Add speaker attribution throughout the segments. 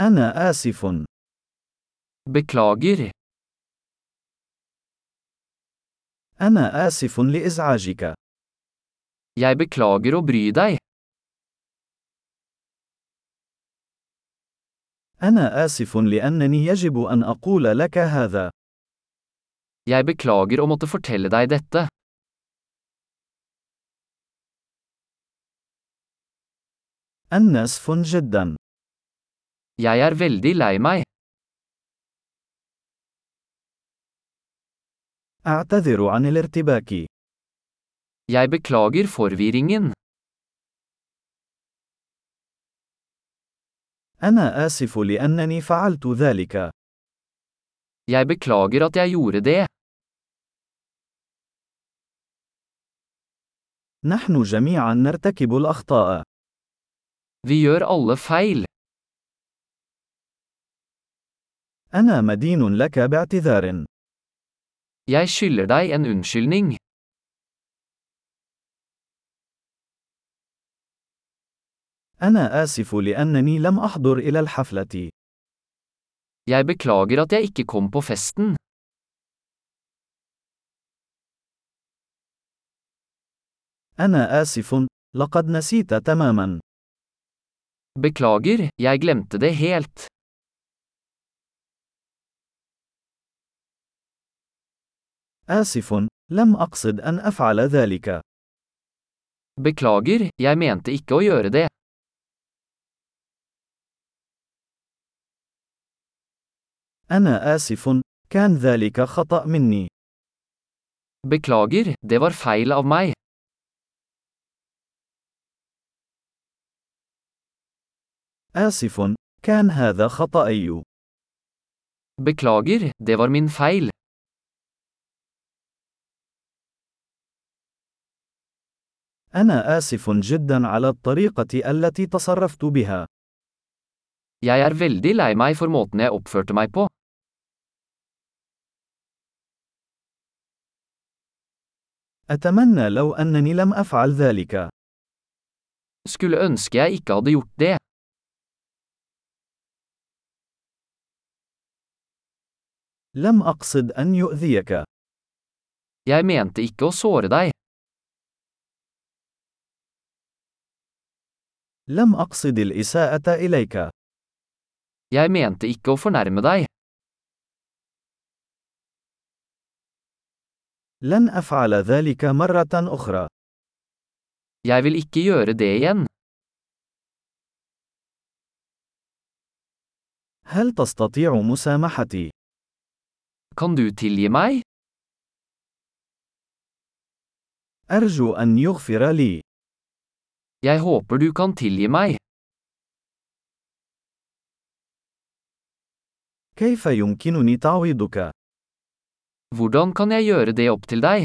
Speaker 1: أنا آسف.
Speaker 2: Beklager.
Speaker 1: أنا آسف لإزعاجك.
Speaker 2: Jeg beklager å bry deg.
Speaker 1: أنا آسف لأنني يجب أن أقول لك هذا.
Speaker 2: Jeg beklager å måtte fortelle deg dette.
Speaker 1: أنا آسف جدا.
Speaker 2: Jeg er veldig lei meg.
Speaker 1: أعتذر عن الارتباك.
Speaker 2: Jeg beklager forvirringen.
Speaker 1: أنا آسف لأنني فعلت ذلك.
Speaker 2: Jeg beklager at jeg gjorde det.
Speaker 1: نحن جميعا نرتكب الأخطاء.
Speaker 2: Vi gjør alle feil.
Speaker 1: أنا مدين لك باعتذار.
Speaker 2: Jeg skylder deg en unnskyldning.
Speaker 1: أنا آسف لأنني لم أحضر إلى الحفلة.
Speaker 2: Jeg beklager at jeg ikke kom på festen.
Speaker 1: أنا آسف. لقد نسيت تماما.
Speaker 2: Beklager, jeg glemte det helt.
Speaker 1: آسف. لم أقصد أن أفعل ذلك.
Speaker 2: Beklager, jeg mente ikke å gjøre det.
Speaker 1: أنا آسف. كان ذلك خطأ مني.
Speaker 2: Beklager, det var feil av meg.
Speaker 1: آسف. كان هذا خطأي.
Speaker 2: Beklager, det var min feil.
Speaker 1: أنا آسف جدا على الطريقة التي تصرفت بها.
Speaker 2: Jeg er veldig lei meg for måten jeg oppførte meg på.
Speaker 1: أتمنى لو أنني لم أفعل ذلك.
Speaker 2: Skulle ønske jeg ikke hadde gjort det.
Speaker 1: لم أقصد أن يؤذيك.
Speaker 2: Jeg mente ikke å såre deg.
Speaker 1: لم أقصد الإساءة إليك.
Speaker 2: Jeg mente ikke å fornærme deg.
Speaker 1: لن أفعل ذلك مرة أخرى.
Speaker 2: Jeg vil ikke gjøre det igjen.
Speaker 1: هل تستطيع مسامحتي؟
Speaker 2: Kan du tilgi meg?
Speaker 1: أرجو أن يغفر لي.
Speaker 2: Jeg håper du kan tilgi meg.
Speaker 1: كيف يمكنني تعويضك؟
Speaker 2: Hvordan kan jeg gjøre det opp til deg?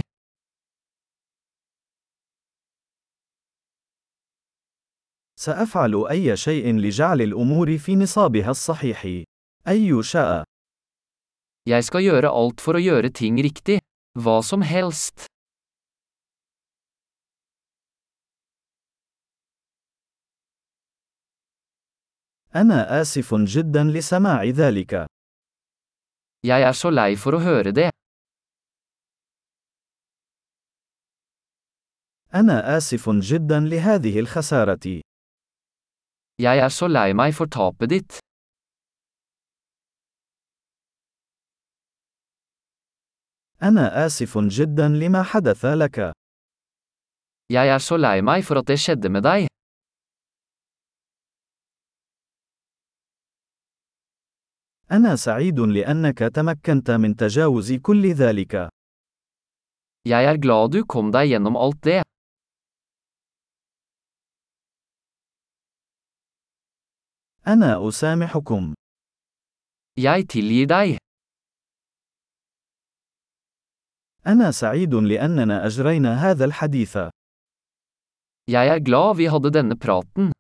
Speaker 1: سأفعل أي شيء لجعل الأمور في نصابها الصحيح. أي شاء.
Speaker 2: Jeg skal gjøre alt for å gjøre ting riktig. Hva som helst.
Speaker 1: أنا آسف جدا لسماع ذلك.
Speaker 2: Jeg er så lei for å høre det.
Speaker 1: أنا آسف جدا لهذه الخسارة.
Speaker 2: Jeg er så lei meg for tapet ditt.
Speaker 1: أنا آسف جدا لما حدث لك.
Speaker 2: Jeg er så lei meg for at det skjedde med deg.
Speaker 1: أنا سعيد لأنك تمكنت من تجاوز كل ذلك.
Speaker 2: Jeg er glad du kom deg gjennom alt det.
Speaker 1: أنا أسامحكم.
Speaker 2: Jeg tilgir deg.
Speaker 1: أنا سعيد لأننا أجرينا هذا الحديث.
Speaker 2: Jeg er glad vi hadde denne praten.